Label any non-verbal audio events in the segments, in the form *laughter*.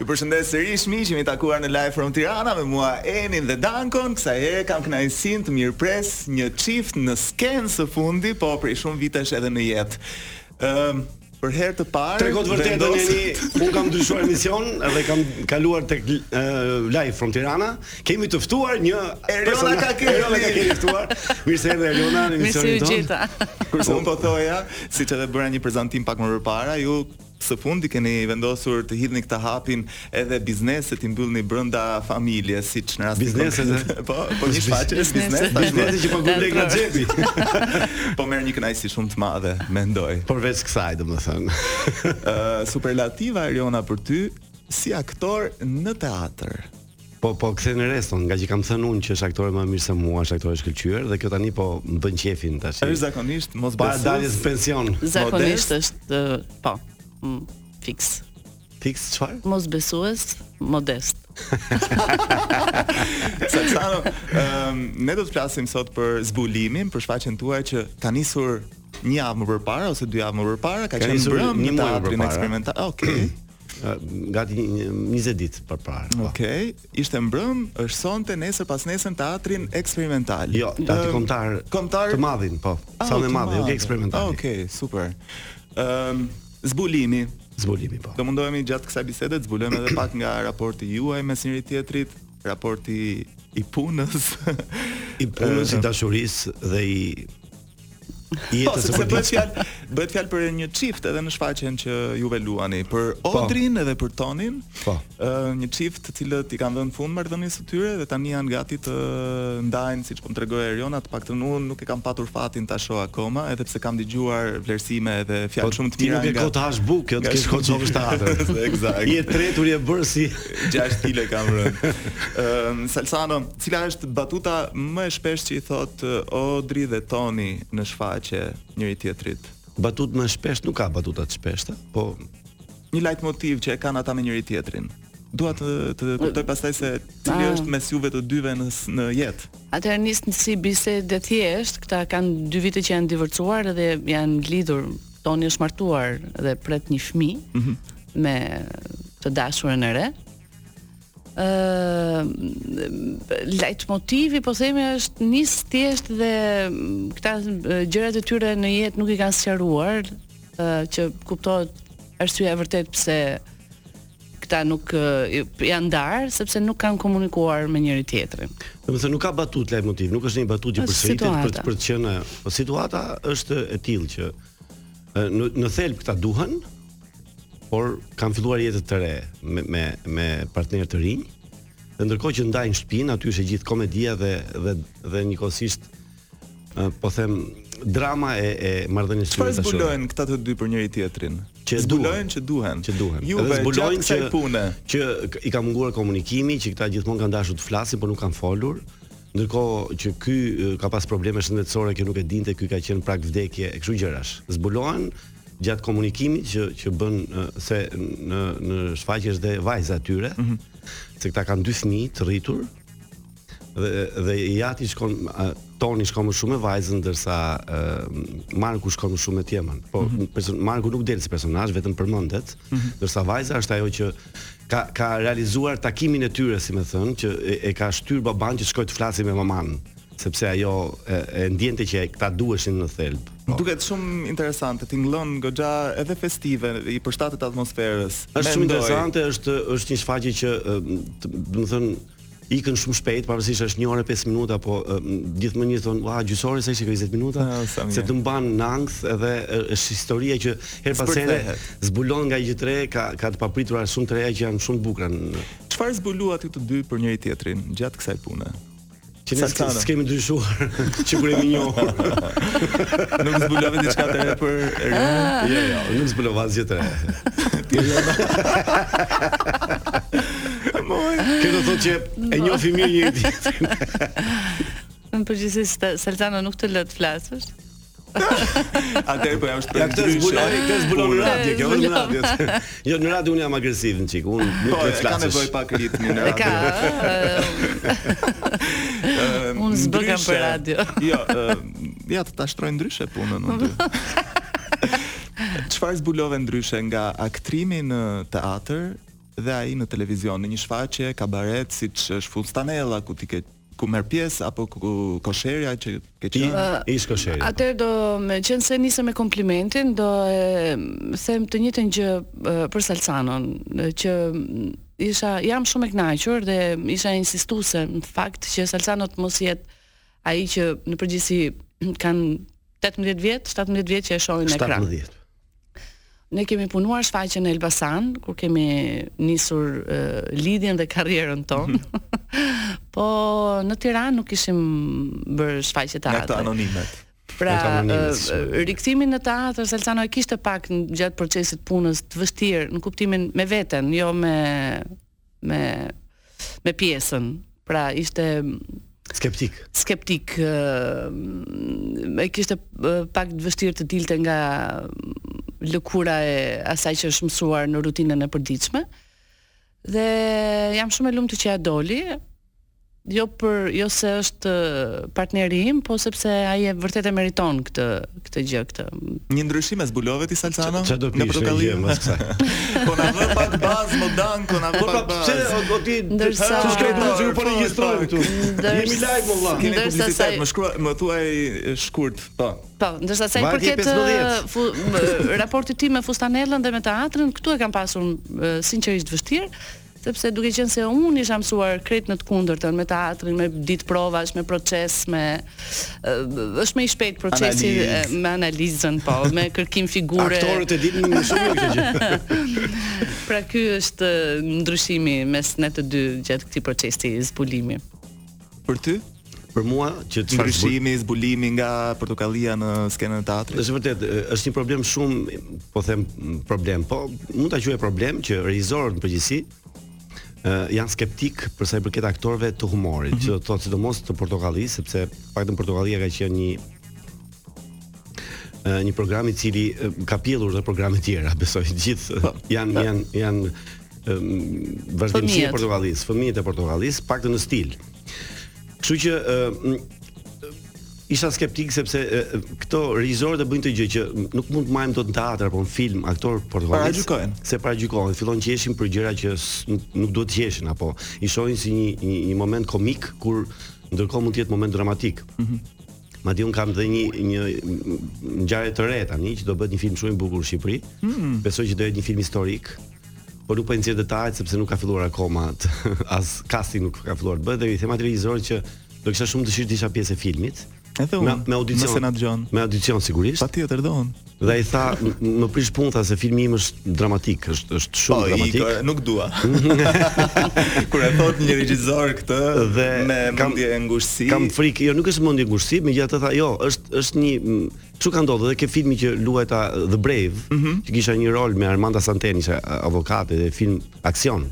Ju përshëndes sërish miq, jemi takuar në Live from Tirana me mua Enin dhe Dankon. Kësaj herë kam kënaqësinë të mirpres një çift në skenë së fundi, po prej shumë vitesh edhe në jetë. Ëm për herë të parë Tregot vërtet vendos- Danieli, un kam ndryshuar emision dhe kam kaluar tek uh, live from Tirana. Kemi të ftuar një Eriona persona- Kakeli. Eriona Kakeli ftuar. Mirë se erdhe Eriona në Mirë se emisionin u tonë. gjeta. *laughs* Kurse un po thoja, siç edhe bëra një prezantim pak më përpara, ju së fundi keni vendosur të hidhni këtë hapin edhe bizneset i mbyllni brenda familjes, siç në rastin Bizneset, konkret. *laughs* po, po *laughs* një shfaqje biznes Bizneset. tashmë. Vërtet që po gol lek nga xhepi. *laughs* po merr një kënaqësi shumë të madhe, mendoj. Përveç kësaj domethënë. Ë, superlativa Eriona për ty si aktor në teatr. Po po kthe në reston, nga që kam thënë unë që është aktore më e mirë se mua, është aktore e shkëlqyer dhe kjo tani po më bën qefin tash. Është zakonisht mos Para *laughs* daljes në besues. pension. Modest? Zakonisht është ë, po, mm, fiks. Fiks çfarë? Mos besues, modest. Saksano, ëm ne do të flasim sot për zbulimin, për shfaqjen tuaj që ka nisur një javë më përpara ose dy javë më përpara, ka, Ka qenë nisur brëm në një muaj më teatrin përpara. eksperimental. Ah, Okej. Ë, Gati një- 20 ditë përpara. po. *clears throat* Okej, ishte mbrëm, është sonte nesër pas nesër në teatrin eksperimental. Jo, aty Ëm, kombëtar kombëtar të madhin, po. Ah, Sa më të madhi, jo ke Ah, eksperimentali. Okej, super. Ëm zbulimi, Zbulimi po. Do mundohemi gjatë kësaj bisede të zbulojmë edhe pak nga raporti juaj mes njëri tjetrit, raporti i punës. I punës, i dashurisë dhe i *laughs* i Po, jetës së sepse bëhet përditshme. fjalë, bëhet fjalë për një çift edhe në shfaqjen që juve luani, për Odrin edhe për Tonin. Po. Ë, një çift të cilët i kanë dhënë fund marrëdhënies së tyre dhe tani janë gati të ndajnë, siç po më tregoi Eriona, të paktën unë nuk e kam patur fatin ta shoh akoma, edhe pse kam dëgjuar vlerësime edhe Po fjalë shumë të ti mira nuk e nga- kot hash buk, kjo nga të kesh shumë- kot zovësh teatër. *laughs* Eksakt. Je tretur je bërë si 6 kile kam rënë. Ëm Salsano, cila është batuta më e shpesh që i thot ë, Odri dhe Toni në shfaqje njëri tjetrit? batut më shpesh, nuk ka batuta të shpeshta, po Një lajt motiv që e kanë ata me njëri tjetrin. Dua të të kuptoj pastaj se cili Ah. është mes juve të dyve në s- në jetë. Atëherë nis në si bisedë thjesht, këta kanë dy vite që janë divorcuar dhe janë lidhur. Toni është martuar dhe pret një fëmijë Mhm. me të dashurën e re. Ë lajt motivi po themi është nis thjesht dhe mm, këta e, gjërat e tyre në jetë nuk i kanë sqaruar, ë që kuptohet arsyeja vërtet pse këta nuk e, janë ndarë sepse nuk kanë komunikuar me njëri tjetrin. domethënë nuk ka batut lajm motiv, nuk është një batutë që Është përsëritet për situata. për të qenë. Po situata është e tillë që e, në në thelb këta duhen, por kanë filluar jetët të re me me me partner të rinj. Dhe ndërkohë që ndajnë shtëpinë, aty është e gjithë komedia dhe dhe dhe njëkohësisht ë, po them drama e e marrëdhënies Çfarë dashore. zbulojnë këta të dy për njëri tjetrin? Që zbulojnë duhen. që duhen. që duhen. Juve Edhe zbulojnë që pune. që k- i ka munguar komunikimi, që këta gjithmonë kanë dashur të flasin, por nuk kanë folur. Ndërkohë që ky e, ka pas probleme shëndetësore që nuk e dinte, ky ka qenë prag vdekje e kështu gjërash. Zbulohen gjatë komunikimit që që bën e, se në në shfaqje është dhe vajza e tyre, se këta kanë dy fëmijë të rritur dhe dhe jati shkon a, Toni shkon më shumë me vajzën ndërsa ë, Marku shkon më shumë me Tjemën. Po person, Marku nuk del si personazh, vetëm përmendet, ndërsa vajza është ajo që ka ka realizuar takimin e tyre, si më thënë, që e, e ka shtyr baban që shkoj të flasë me maman, sepse ajo e, e ndjente që e- këta duheshin në thelb. Po. Më duket shumë interesante, tingëllon goxha edhe festive, i përshtatet atmosferës. Është shumë Mendoj. interesante, është është një shfaqje që ëm, të- do të thënë ikën shumë shpejt, pavarësisht është 1 orë e 5 minuta, po ëm, gjithmonë një thon, "Ua, gjysore sa ishte kjo 20 minuta?" Ah, sa mirë. se të mban në ankth edhe ë, është historia që her pas here Zbërthehet. zbulon nga gjë të re, ka ka të papritura shumë të reja që janë shumë të bukura. në- Çfarë zbulua ti të dy për njëri tjetrin gjatë kësaj pune? Që ne Salsano. s'ke- s'kemi ndryshuar *laughs* që kur jemi njohur. Nuk zbulove diçka të re për Erinë? Jo, jo, nuk zbulova asgjë të re. *laughs* Moj. Kjo do thotë që e njohim mirë njëri tjetrin. Në përgjithësi sta- Saltano nuk të lë të flasësh. Atëherë po jam Ja shpër këtë zbulon, këtë zbulon në Ura. radio, kjo vetëm në Zbulon. radio. *laughs* Jo, në radio unë jam agresiv në çik, unë nuk Po, do e të ka flasësh. nevojë pak ritmi në E ka. radio. ë, Ë, Unë s'bë kam ndryshe- për radio. *laughs* Jo, ë, ja të ta shtroj ndryshe punën unë. *laughs* dy. Çfarë zbulove ndryshe nga aktrimi në teatr dhe ai në televizion në një shfaqje kabaret siç është Fustanella ku ti ke ku merr pjesë apo ku, ku kosherja që ke Ti uh, qenë. ish kosheri. Atëherë do me qenë se nisem me komplimentin, do e m, them të njëjtën gjë e, për Salsanon, e, që m, isha jam shumë e kënaqur dhe isha insistuese në fakt që Salsano të mos jetë ai që në përgjithësi *clears throat* kanë 18 vjet, 17 vjet që e shohin në ekran. 17. Ne kemi punuar shfaqjen në Elbasan, kur kemi nisur e, lidhjen dhe karrierën tonë. *laughs* po në Tiranë nuk kishim bërë shfaqje Nga këto teatri. anonimet. Pra Nga këto anonimet, e, shumë. rikthimin në teatr Salsano e kishte pak në gjatë procesit punës të vështirë në kuptimin me veten, jo me me me pjesën. Pra ishte Skeptik. skeptik ë e kishte ë, pak të vështirë të dilte nga lëkura e asaj që është mësuar në rutinën e përditshme. Dhe jam shumë e lumtur që ja doli, jo për jo se është ë, partneri im, po sepse ai e vërtet e meriton këtë këtë gjë këtë. Një ndryshim e zbulove ti Salsano? Çfarë do të ishte një gjë më së kësaj? *laughs* Po na vë pak bazë më danko, na vë *laughs* Po pra, pak pse bazë. o ti Ndërsa- ç'është kjo punë që ju po Po, regjistrojmë këtu? Ndërsa- Jemi live valla. Kemi Ndërsa publicitet, sa- më shkruaj, më thuaj e, shkurt, po. Po, ndërsa sa i Vargje përket 15. ë, fu, m- raportit tim me Fustanellën dhe me teatrin, këtu e kam pasur ë, sinqerisht vështirë, sepse duke qenë se unë isha mësuar krejt në të kundërtën me teatrin, me ditë provash, me proces, me ë, është më i shpejt procesi Analizë. ë, me analizën, po, me kërkim figure. Aktorët e dinë më shumë mirë këtë gjë. *laughs* pra ky është ë, ndryshimi mes ne të dy gjatë këtij procesi zbulimi. Pra, Për ty? Për mua që çfarë zbul- Ndryshimi, zbulimi nga portokallia në skenën e teatrit. Është vërtet, është një problem shumë, po them problem, po mund ta quaj problem që regjisorët në përgjithësi ë janë skeptik për sa i përket aktorëve të humorit, që do të thotë sidomos të Portokalli, sepse paktën Portokallia ka qenë një ë, një program i cili ë, ka pjellur dhe programe të tjera, *laughs* besoj të gjithë janë janë janë ë, vazhdimsi e Fëmijët. Portokallis, fëmijët e Portokallis, paktën në stil. Kështu që ë, isha skeptik sepse e, e, këto regjisorët e bëjnë të gjë që m, nuk mund të marrim dot në teatr apo në film aktor portokallis. Paragjykojnë. Se paragjykojnë, fillon qeshin për gjëra që s- nuk nuk duhet të qeshin apo i shohin si një, një, një moment komik kur ndërkohë mund të jetë moment dramatik. Madje un kam dhe një një m, ngjarje të re tani që do bëhet një film shumë i bukur në Shqipëri. Besoj që do jetë një film historik. Po nuk po e nxjerr detajet sepse nuk ka filluar akoma të, *laughs* as casting nuk ka filluar të bëhet dhe i them atë regjisorit që do kisha shumë dëshirë të isha pjesë e filmit. Edhe unë, me, me audicion. nëse na dëgjon. Me audicion sigurisht. Patjetër do unë. Dhe ai tha, "M- më prish punë tha se filmi im është dramatik, është është Po, shumë dramatik. Igor, nuk dua. *laughs* Kur e thot një regjisor këtë Dhe me kam- mendje ngushësi, Kam frikë, jo nuk është mendje ngushësi, megjithatë tha, jo, është është një m, çu ka ndodhur dhe ke filmi që luajta The Brave, Mhm. që kisha një rol me Armanda Santen, isha a- avokate dhe film aksion.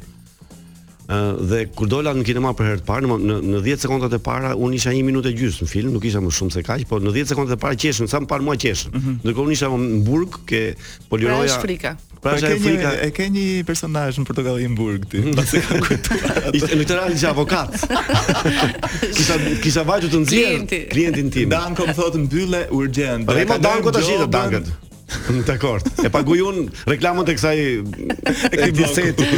Ë dhe kur dola në kinema për herë të parë, në, mo- në, në 10 sekondat e para unë isha 1 minutë e gjysmë në film, nuk isha më shumë se kaq, po në 10 sekondat e para qeshën, sa më parë mua qeshën. Mhm. Ndërkohë unë isha në burg, ke poliroja. është frika. Pra është e ajo ke një frika. e ke një personazh në Portokalli në burg *laughs* ti. Pasi kam kujtuar. *laughs* Ishte në këtë rast isha avokat. kisha kisha vajtur të nxjerr Klienti. klientin tim. Pra Danko më thotë mbylle urgjent. do Dhe e më kalojmë danko tash të gjobën. *laughs* dankët. Dakor. E paguaj un reklamën të kësaj e këtij bloku. diseti.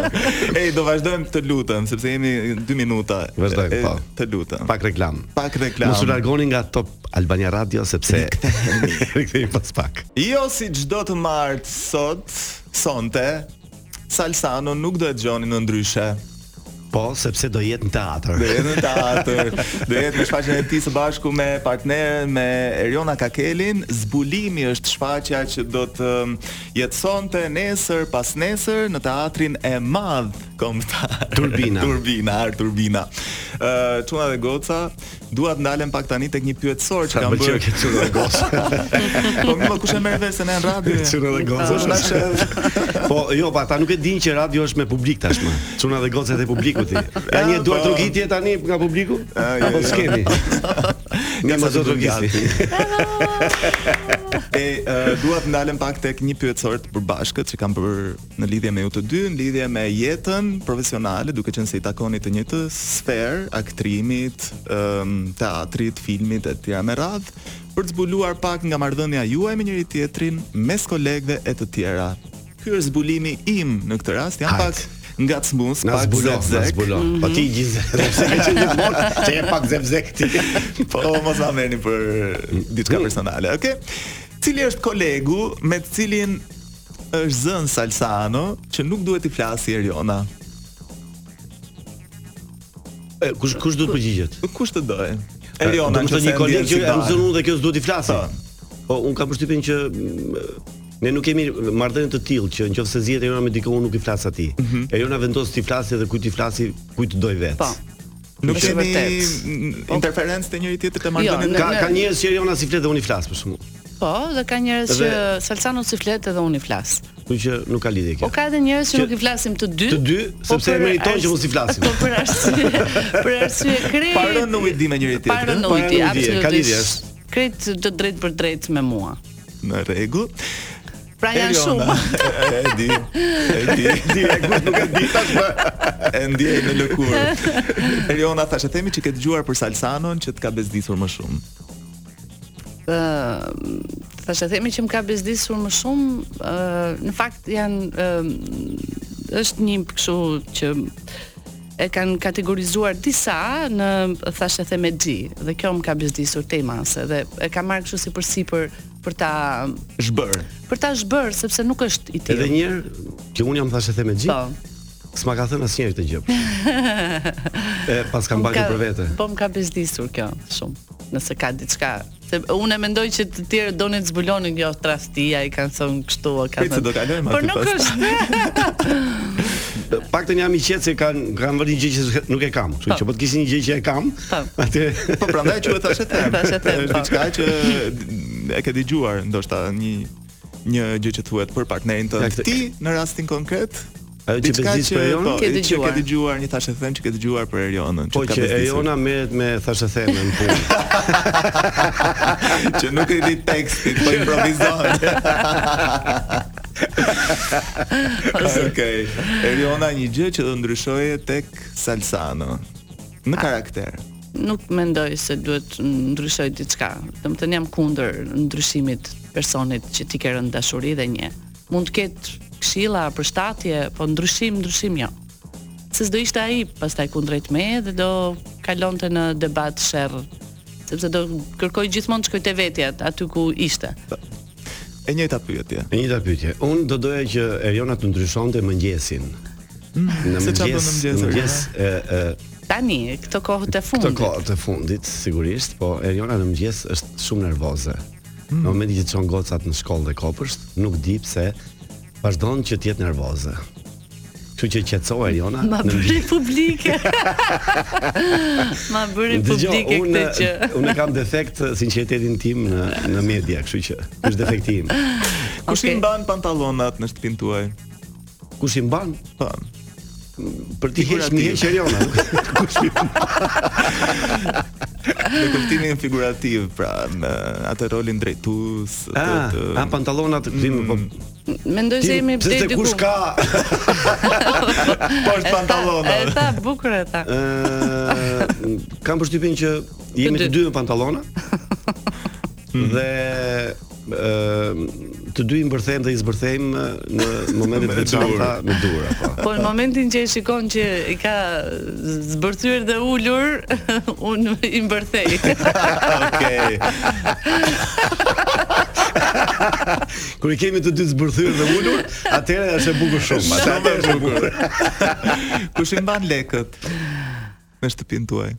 *laughs* Ej, do vazhdojmë të lutem sepse jemi 2 minuta. Vazhdojmë, E, po. Të lutem. Pak reklam. Pak reklam. Mos u largoni nga Top Albania Radio sepse *laughs* rikthehemi pas pak. Jo si çdo të martë sot, sonte, Salsano nuk do e dëgjoni në ndryshe. Po, sepse do jetë në teatr. Do jetë në teatr, do jetë në shfaqjen e tij së bashku me partneren me Eriona Kakelin. Zbulimi është shfaqja që do të um, jetësonte nesër pas nesër në teatrin e madh kombëtar. Turbina. *laughs* Turbina, Art Turbina. Ë, çuna dhe goca, dua të ndalem pak tani tek një pyetësor që Sa kam pëlqeu bërë. këtë çuna *laughs* dhe gosë. Po mirë, kush e merr vesh se ne në *laughs* radio? Çuna dhe gosë. Kush na shef? *laughs* Po, jo, pa ata nuk e dinë që radio është me publik tashmë. Çuna dhe gocet e publikut. i. Ja një Ja, duart po. rogitje tani nga publiku? Ah, jo, Apo jo. *laughs* skemi? Një Nga më sa zot të rogitje. *laughs* E uh, dua të ndalem pak tek një pyetësor të përbashkët që kam bërë në lidhje me ju të dy, në lidhje me jetën profesionale, duke qenë se i takoni të njëjtë sferë aktrimit, um, teatrit, filmit e tjera me radhë, për të zbuluar pak nga marrëdhënia juaj me njëri tjetrin, mes kolegëve e të tjera. Ky është zbulimi im në këtë rast, jam Hajt. pak ngacmues, Na pak zbulon, na zezek. zbulon. Po ti *laughs* gjithë, pse ke qenë gjithmonë që je pak zezek ti. Po mos ta merrni për diçka personale, okay? Cili është kolegu me të cilin është zën Salsano që nuk duhet i flasi Eriona? E, *laughs* Kush kush do të përgjigjet? Kush të doj? Eriona, do të thotë një koleg që jam zënë unë dhe kjo s'duhet i flasë. Po unë kam përshtypjen që mm, ne nuk kemi marrëdhënie të tillë që nëse zihet Eriona me dikë unë nuk i flas atij. Eriona vendos ti flasi dhe kujt i flasi, kujt doj vet. Po. Nuk Është kemi vërtet. n- interferencë të njëri tjetrit të Jo, marrëdhëniet. Ka Në- ka njerëz që Eriona si flet dhe unë i flas për shkakun. Po, dhe ka njerëz që Dhe- Salsano si flet edhe unë i flas. Kështu që nuk ka lidhje kjo. Po ka edhe njerëz që Që- nuk i flasim të dy. Të dy, po sepse për meriton ars- që mos i flasim. Po për arsye, *laughs* për arsye krejt. Parë në ujdi me njëri tjetrin. Parë në Paranoidi, ujdi, ka lidhje, absolutisht. është. Krejt të drejt për drejt me mua. Në rregull. Pra janë shumë. *laughs* E di. E di. Di e kush nuk e di tash më. E ndjej në lëkurë. Eriona thashë themi që ke dëgjuar për Salsanon që të ka bezdisur më shumë. ë thashë themi që më ka bezdisur më shumë, ë në fakt janë ë është një kështu që e kanë kategorizuar disa në thashë theme G dhe kjo më ka bezdisur temase dhe e ka marrë kështu si përsipër për ta Zhbër. për ta zhbër sepse nuk është i Edhe tillë. një herë që un jam thashë the me xhi, Po. s'ma ka thënë asnjëri këtë gjë. *laughs* e pas kam Më mbajtur për vete. Po më ka bezdisur kjo shumë. Nëse ka diçka Se unë e mendoj që të tjerë donin të zbulonin kjo tradhtia, i kanë thënë kështu, e kanë Prit se do kalojmë Por aty nuk pas. është. Paktën jam i qetë se kanë kanë vënë një gjë që s'ka- nuk e kam. Kështu Po. që po të kishin një gjë që e kam, *laughs* Po. atëherë Po prandaj quhet thashë them. Thashë them, Është po. diçka që e ke dëgjuar ndoshta një një gjë që thuhet për partnerin Ja, tënd. këtë- Ti në rastin konkret Ajo që diçka bezdis për Erionën? po, Ke që dëgjuar. ke dëgjuar një thashë them që ke dëgjuar për Erionën, Po ka që bezdisur. Eriona merret me thashë theme në punë. *laughs* që nuk e di tekstin, po *laughs* improvizon. Okej. Eriona një gjë që do ndryshoje tek Salsano në karakter. Nuk mendoj se duhet ndryshoj diçka. Domethënë jam kundër ndryshimit të personit që ti ke rënë dashuri dhe një. Mund të ketë këshilla, përshtatje, po ndryshim, ndryshim jo. Se s'do ishte ai pastaj kundrejt me dhe do kalonte në debat sherr sepse do kërkoj gjithmonë të shkoj te vetja aty ku ishte. E njëjta pyetje. E njëjta pyetje. Unë do doja që Eriona të ndryshonte mëngjesin. Në Mm, se çfarë bën në mëngjes, në mëngjes e, e, Tani, këto kohët e këtë fundit. kohë të fundit sigurisht, po Eriona në mëngjes është shumë nervoze. Mm. Në momentin që të çon gocat në shkollë dhe kopësht, nuk di pse vazhdon që të jetë nervoze. Kështu që qetëso Eriona Ma në bëri *laughs* publike. Ma bëri Dëgjoj, publike unë këtë që. unë kam defekt eh, sinqeritetin tim në në media, kështu që është defekti im. Kush i Okej. mban pantallonat në shtëpinë tuaj? Kush i mban? Po. Për ti heq mi Figurativ. heq Eriona. *laughs* Kush i Në kuptimin figurativ, pra në atë rolin drejtues, të, Ah, të ah pantallona Mm. të kthim po. Mendoj se jemi pse deri se diku. kush ka poshtë *laughs* Po, pantallona. E ta bukur e ta. ë kam përshtypjen që jemi të Të dy. dy me *laughs* pantallona. dhe ë të dy i mbërthejmë dhe i zbërthejmë eh, në *laughs* momentet Me e veçanta me dur *laughs* apo. Po në momentin që e shikon që i ka zbërthyer dhe ulur, *laughs* unë i mbërthej. Okej. Kur i kemi të dy zbërthyer dhe ulur, atëherë është e bukur shumë. Shumë Atëherë e është e bukur. Kush i mban lekët në shtëpinë tuaj?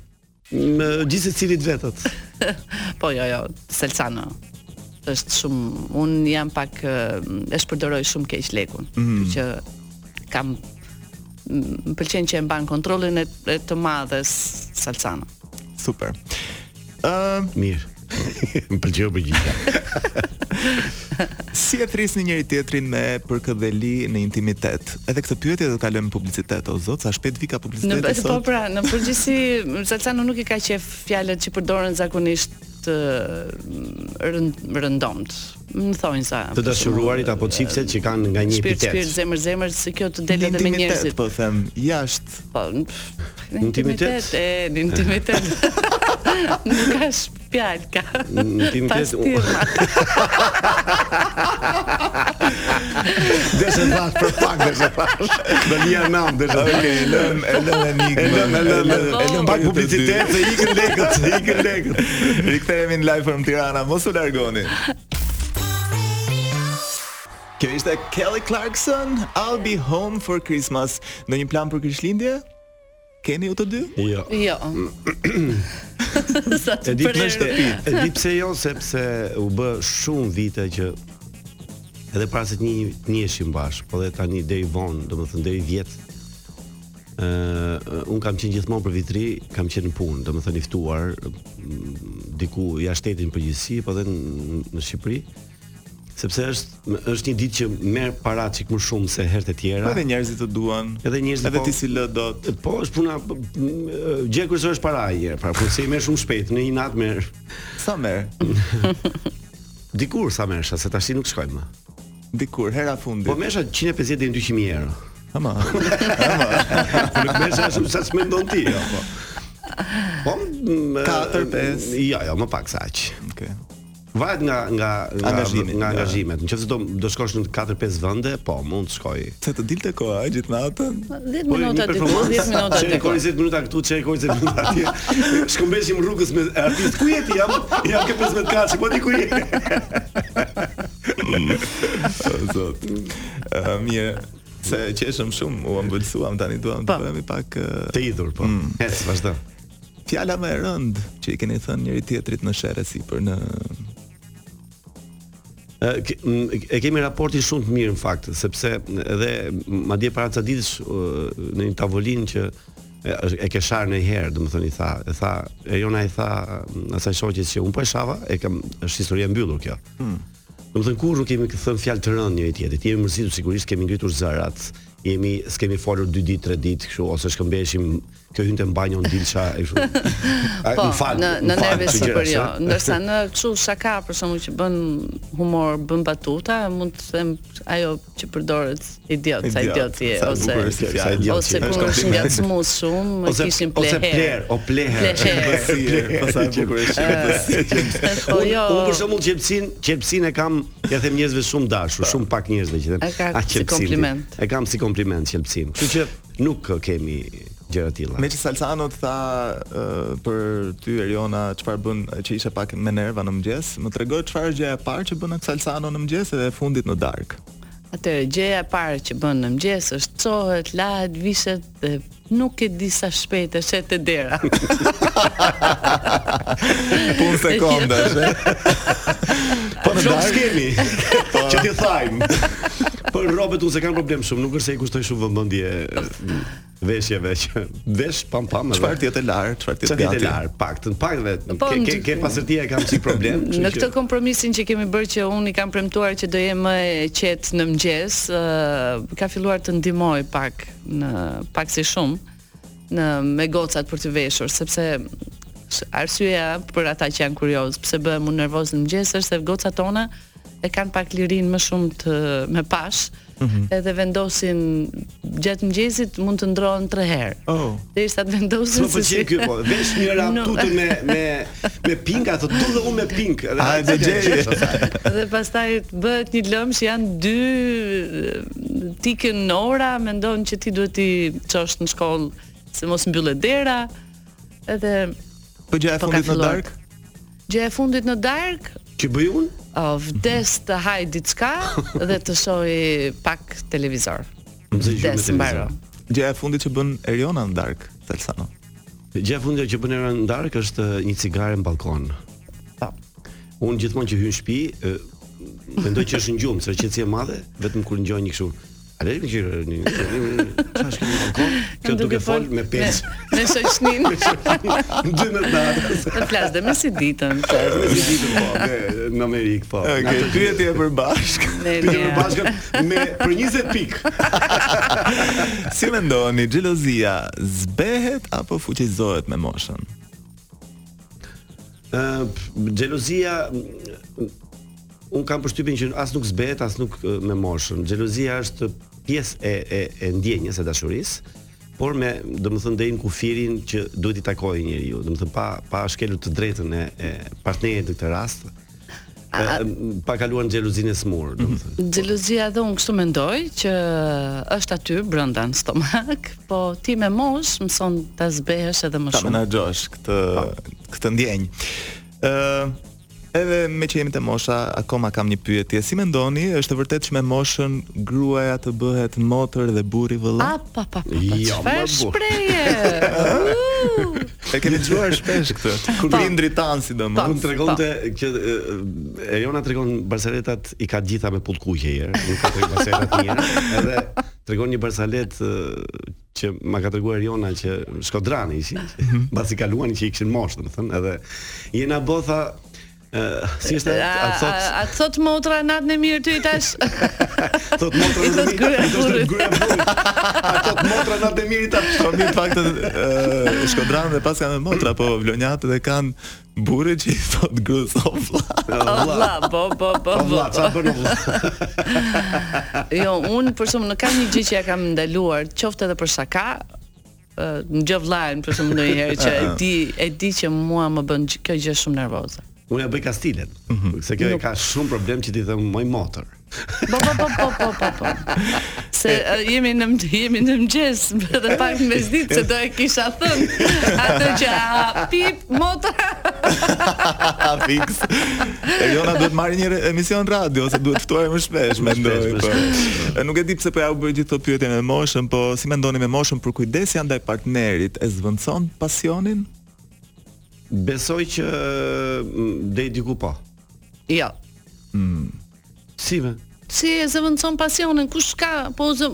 Më gjithë secilit vetët. Po jo jo, Salsano është shumë un jam pak ë, e shpërdoroj shumë keq lekun, mm. që kam m- më pëlqen që e mban kontrollin e, e të madhes Salsano. Super. Ëm, Mirë. *laughs* Më pëlqeu përgjigja. Si e thrisni njëri tjetrin me përkëdheli në intimitet? Edhe këtë pyetje do të kalojmë në publicitet o zot, sa shpejt vika Në publiciteti po sot. pra, në përgjithësi Salsano nuk i ka qef fjalët që përdoren zakonisht të rënd, rëndomt. Më thonjë sa. Të dashuruarit apo çiftet që kanë nga një Shpirt, epitet. shpirt, zemër, zemër, se kjo të Në del edhe me intimitet njerëzit. po them, jashtë. Po, n- pff, në Intimitet? *laughs* intimitet, e, në intimitet. Nuk ka shp- fjalë ka. Në timin Pas tjetër, u- *laughs* firma. Deshe thash për pak, deshe thash. *laughs* Do lija nam, deshe thash. Okej, e lëm, e *laughs* lëm enigmën. E lëm, e lëm, e lëm. e lëm Pak për ju të publicitet dy. dhe ikën lekët, se ikën lekët. Rikthehemi në live from Tirana, mos u largoni. Kjo ishte Kelly Clarkson, I'll be home for Christmas. Në një plan për Krishtlindje? Keni ju të dy? Jo. *clears throat* Jo. Sa E të di pse përre- shtëpi. E di pse jo, sepse u bë shumë vite që edhe para se të një të njiheshim bashkë, po dhe tani deri vonë, domethënë deri vjet. Ë un kam qenë gjithmonë për vitri, kam qenë në punë, domethënë i ftuar mm, diku jashtë shtetit në përgjithësi, po dhe në, në Shqipëri sepse është është një ditë që merr para çik më shumë se herët e tjera. Edhe njerëzit të duan. Edhe njerëzit Edhe po- ti si lë dot. Po, është puna p- m- e, gjë kurse është para një herë, pra kur se i merr shumë shpejt, në një natë merr. Sa merr? Dikur sa mersha, se tash nuk shkoj më. Dikur, hera fundit. Po mesha 150 deri në 200 mijë euro. ama. *laughs* *laughs* Po nuk mesha shumë sa s'mendon ti, jo, po. Po m- e, Katër, pesë. Jo, jo, më pak se aq. Okej. Varet nga nga nga Angazhimi, nga nga- angazhimet. Nëse do do shkosh në 4-5 vende, po mund të shkoj. Se të dilte koha gjithë natën. 10 Po, një minuta diku, performancë, 10 minuta Çe diku. kori 10 minuta këtu, çe kori 10 minuta *laughs* atje. Shkëmbeshim rrugës me artist. Ku jeti jam? Jam ke 15 kaçë, po di ku jeti. O zot. Ë, mirë. Se qeshëm shumë, u ëmbëlsuam tani duam të Po. bëhemi pak ë, Të idhur, po. Ec, vazhdo. fjala më e rënd që i keni thënë njëri tjetrit në shere sipër në E, ke- m- e kemi raportin shumë të mirë në fakt, sepse edhe madje para ca ditësh ë, në një tavolinë që e, e ke sharë në herë, do i tha, e tha, e jona i tha m, asaj shoqes që unë po e shava, e kam, është historia e mbyllur kjo. Hmm. Do kur nuk kemi thënë fjalë të rëndë njëri tjetrit, jemi mërzitur sigurisht, kemi ngritur zërat, jemi s'kemi folur 2 ditë, 3 ditë kështu ose shkëmbeshim, kjo hynte në banjo në dilsha e kështu. *laughs* A, Po, më fal, në në më fal, nerve kështu super gjërash, jo. a? Ndërsa në kështu shaka për shkakun që bën humor, bën batuta, mund të them ajo që përdoret idiot, sa Idiot, idiot je sa ose bukur është fjalë. idiot ose Është je. kur është kompliment. ngacmuar shumë, Ose- kishin ose pleher. pler, o pleher. *laughs* Pleher. Besier, po sa e bukur është besier. *laughs* Po Unë- jo. Unë për shembull qepsin, qepsin e kam, ja them njerëzve shumë dashur, Po. shumë pak njerëzve që them. "Ah, E ka si qepsin ti." kompliment. E kam si kompliment qepsin. Kështu që nuk eh, kemi gjëra të tilla. Me që Salsano të tha ë, për ty Eriona çfarë bën që ishe pak me nerva në mëngjes, më tregoj çfarë gjëja e parë që bën Salsano në mëngjes edhe e fundit në *laughs* darkë. Atëherë gjëja e parë që bën në mëngjes është çohet, lahet, vishet dhe nuk e di sa shpejt e shet te dera. Punë *laughs* sekondash. e. Po në darkë- skemi. *laughs* Që ti thajm. *laughs* Po robët unë se kam problem shumë, nuk është se i kushtoj shumë vëmendje eh, veshjeve që vesh pam pam edhe. Çfarë ti të lar, çfarë ti Çfarë ditë gati. lar, paktën, paktën. Po, Ke ke në- ke pasërtia e kam si problem, kështu Në që- këtë kompromisin që kemi bërë që unë i kam premtuar që do jem më e qetë në mëngjes, ë, ka filluar të ndihmoj pak në pak si shumë në me gocat për të veshur, sepse s- arsyeja për ata që janë kurioz, pse bëhem unë nervoz në mëngjes është se gocat tona e kanë pak lirinë më shumë të me pash, Mhm. edhe vendosin gjatë mëngjesit mund të ndrohen 3 herë. Oh. Derisa të vendosin Më pëlqen ky po, vesh një rap Nuk. tutë me me me pinka, thotë tu dhe unë me pink. Edhe Hajde, hajde, gjej. gjej, thotë. *laughs* Dhe pastaj bëhet një lëmsh janë dy e, tikën në ora, mendon që ti duhet i çosh në shkollë se mos mbyllet dera. Edhe Po gjëja e Po ka fundit në filluar. darkë? gjë e fundit në darkë, Që bëj unë? o, vdes të haj diçka dhe të shohi pak televizor. Më zë gjumë Vdes mbaro. Gjëja e fundit që bën Eriona në darkë, Salsano. Gjë e fundit që bën era në darkë është eh, një cigare në balkon. Po. Unë gjithmonë që hyn në shtëpi, eh, mendoj që është në gjumë, se qetësi e madhe, vetëm kur ngjoj një kështu. A le të gjirë një çfarë është në balkon? Kjo duke fol me pesë. Me, me shoqëninë. Dy me datës. Dhe flas dhe me si ditën. flas dhe Me si ditën po, me- në Amerikë po. Okej, pyetje e përbashkë. me Pyetje mira. përbashkët me për 20 pikë. *laughs* Si mendoni, xhelozia zbehet apo fuqizohet me moshën? Ë, p- xhelozia m, un kam përshtypjen që as nuk zbehet, as nuk ë, me moshën. Xhelozia është pjesë e e e ndjenjes së dashurisë, por me domethënë deri në kufirin që duhet i takojë njeriu, domethënë pa pa shkelur të drejtën e, e partnerit në këtë rast. e, pa kaluar në xheluzinë e smur, domethënë. Xhelozia dhe unë kështu mendoj që është aty brenda në stomak, po ti me mosh mëson ta zbehesh edhe më ta shumë. menaxhosh këtë këtë ndjenjë. Ë edhe me që jemi te mosha, akoma kam një pyetje. Si mendoni, është e vërtetë që me moshën gruaja të bëhet motër dhe burri vëlla? A pa pa pa. pa Jo, çfarë më bu. shprehje? Uu! E kemi dëgjuar shpesh këtë. *laughs* Kur Po. prindrit tan Pa, sidomos. unë tregonte që e, e, Eriona tregon barceletat i ka gjitha me pull kuqe herë, nuk ka treguar barceletat mira. Edhe tregon një barcelet e, që ma ka treguar Eriona që Shkodrani ishin, mbasi kaluani që i kishin moshë, domethënë, edhe jena botha ë si është A atë a- thot a të thot motra natën e mirë ty i tash. thot motra i thot Zëmi, gruaja i thot burrit. gruaja Ato motra na të *laughs* mirë ta po, thonë në fakt ë Shkodran dhe pas kanë motra, po vlonjatët e kanë burrit që i thot gruas o vlla. *laughs* O vlla, po po po. O po, vlla, po. çfarë oh, bën o vlla? Jo, unë për shkakun nuk kam një gjë që ja kam ndaluar, qoftë edhe për shaka, ë, në gjë vllajën për shkakun ndonjëherë që e di, e di që mua më bën gjë- kjo gjë shumë nervoze. Unë ja bëj kastilet, se kjo e ka shumë problem që ti them moj motor. Po po po po po po. po. Se ë, jemi në mg- jemi në mëngjes edhe pak në mesditë se do e kisha thënë atë që a, pip motra. A fix. Eriona duhet marrë një re- emision radio ose duhet ftuar më shpesh mendoj. shpesh, më po. shpesh, Nuk e di pse po ja u bëj gjithë këto pyetje me moshën, po si mendoni me moshën për kujdesja ndaj partnerit e zvendçon pasionin? Besoj që mm, deri diku po. Jo. Si me? Si e zëvendëson pasionin, kush ka, po zë...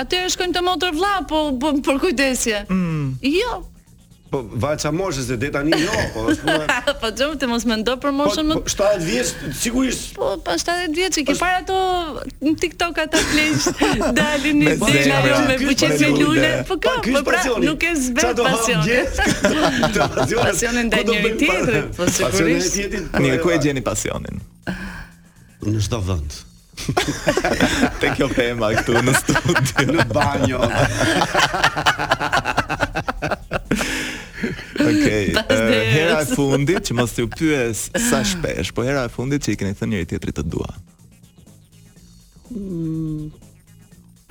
Atëherë shkojmë te motor vlla, po bëm për kujdesje. Mm. Jo. Po vaça moshës e deri tani jo, po *laughs* është puna. po çom të mos mendo për Po, moshën më po 70 vjeç *laughs* sigurisht Po, pas 70 vjeç që ke parë ato në TikTok ata *laughs* pleq dalin Me në dela zemra, jo me ky buqet me pasion. lule. Po ka, ky po është pra pasioni. nuk e Qa zbret do ham pasionin. gjithë *laughs* këto pasione? Pasionin ndaj Ku *laughs* do njëri bëjmë tjetrit, pa- po pasionin e sigurisht. tjetrit, po, Mirë, ku e va- gjeni pasionin? Në çdo vend. *laughs* Te kjo tema këtu në studio. Në *laughs* banjo. Okej. Pas eh, derës. Hera e fundit që mos ju pyes sa shpesh, po hera e fundit që i keni thënë njëri tjetrit të dua.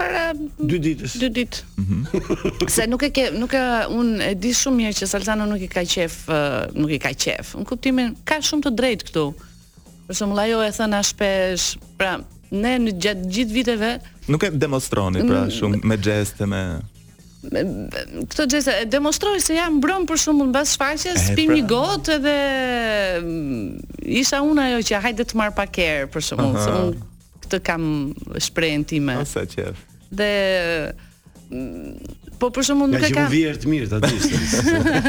Para Dy ditësh. dy ditë. Mhm. Se nuk e ke nuk e unë e di shumë mirë që Salzano nuk i ka qef, ë, nuk i ka qef. Në kuptimin ka shumë të drejtë këtu. Për shembull ajo e thënë a shpesh, pra ne në gjatë gjithë viteve Nuk e demonstroni pra shumë me gjeste me Këto gjeste e demonstroj se jam mbron për shembull mbas shfaqjes, E, pim pra. një gotë edhe mm, isha unë ajo që hajde të marr pak erë për shembull, se Aha. unë këtë kam shprehën time. ose qef. Dhe mm, po për shembull Nga nuk e që u ka vjerë të mirë ta dish.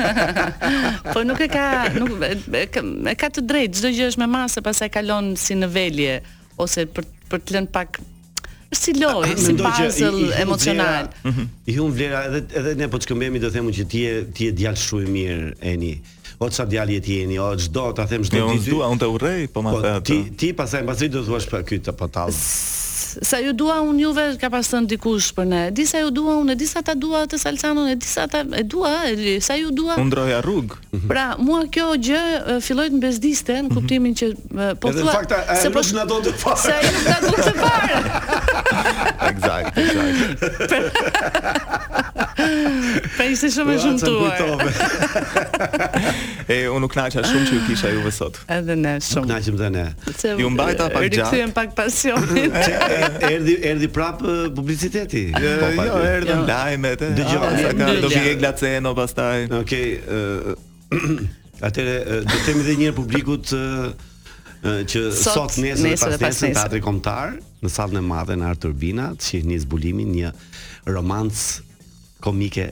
po nuk e ka nuk e, e, ka- e ka të drejtë, çdo gjë është me masë, pastaj kalon si në velje ose për për të lënë pak është si lojë, *laughs* si Mendoj që i- i puzzle hum emocional. Mhm. vlera- I hum vlera edhe edhe ne po të shkëmbemi do themu që ti je ti je djalë shumë i mirë Eni. O çfarë djalë je ti Eni? O çdo ta them çdo Jo, unë ditë. dua, unë të urrej, po ma Po the atë. ti ti pastaj pastaj do thuash pa ky të patall. sa ju dua unë juve ka pas thënë dikush për ne. E Di sa ju dua unë, e di sa ta dua të Salsanon, e di sa ta e dua, e di sa ju dua. Unë ndroja *laughs* rrugë. Pra, mua kjo gjë e, filloi të mbezdiste në kuptimin që e, po Edhe në fakt a- ajo nuk na donte fare. Se ajo nuk na donte *laughs* fare. Eksakt, eksakt. pra ishte shumë e Ua, sa shumtuar. kujtove. E unë u knaqa shumë që ju kisha juve sot. Edhe ne *laughs* shumë. Knaqem dhe ne. Se Ju mbajta pak gjatë. Rikthyem pak pasionin. *laughs* Erdhi erdhi prap eh, publiciteti. E, Po, pa- jo, erdhën Jo. lajmet. eh. Ah, e, Dëgjoj, a, sa ka, do dëgjoj. vi e glaceno pastaj. Okej, ë, *clears throat* atëre ë, do të themi edhe një herë publikut ë, ë, që Sot, sot, nesër dhe pas nesër dhe pas nesër në nesër. Teatri Kombëtar, në sallën e madhe në Art Turbina, të shihni zbulimin një romancë komike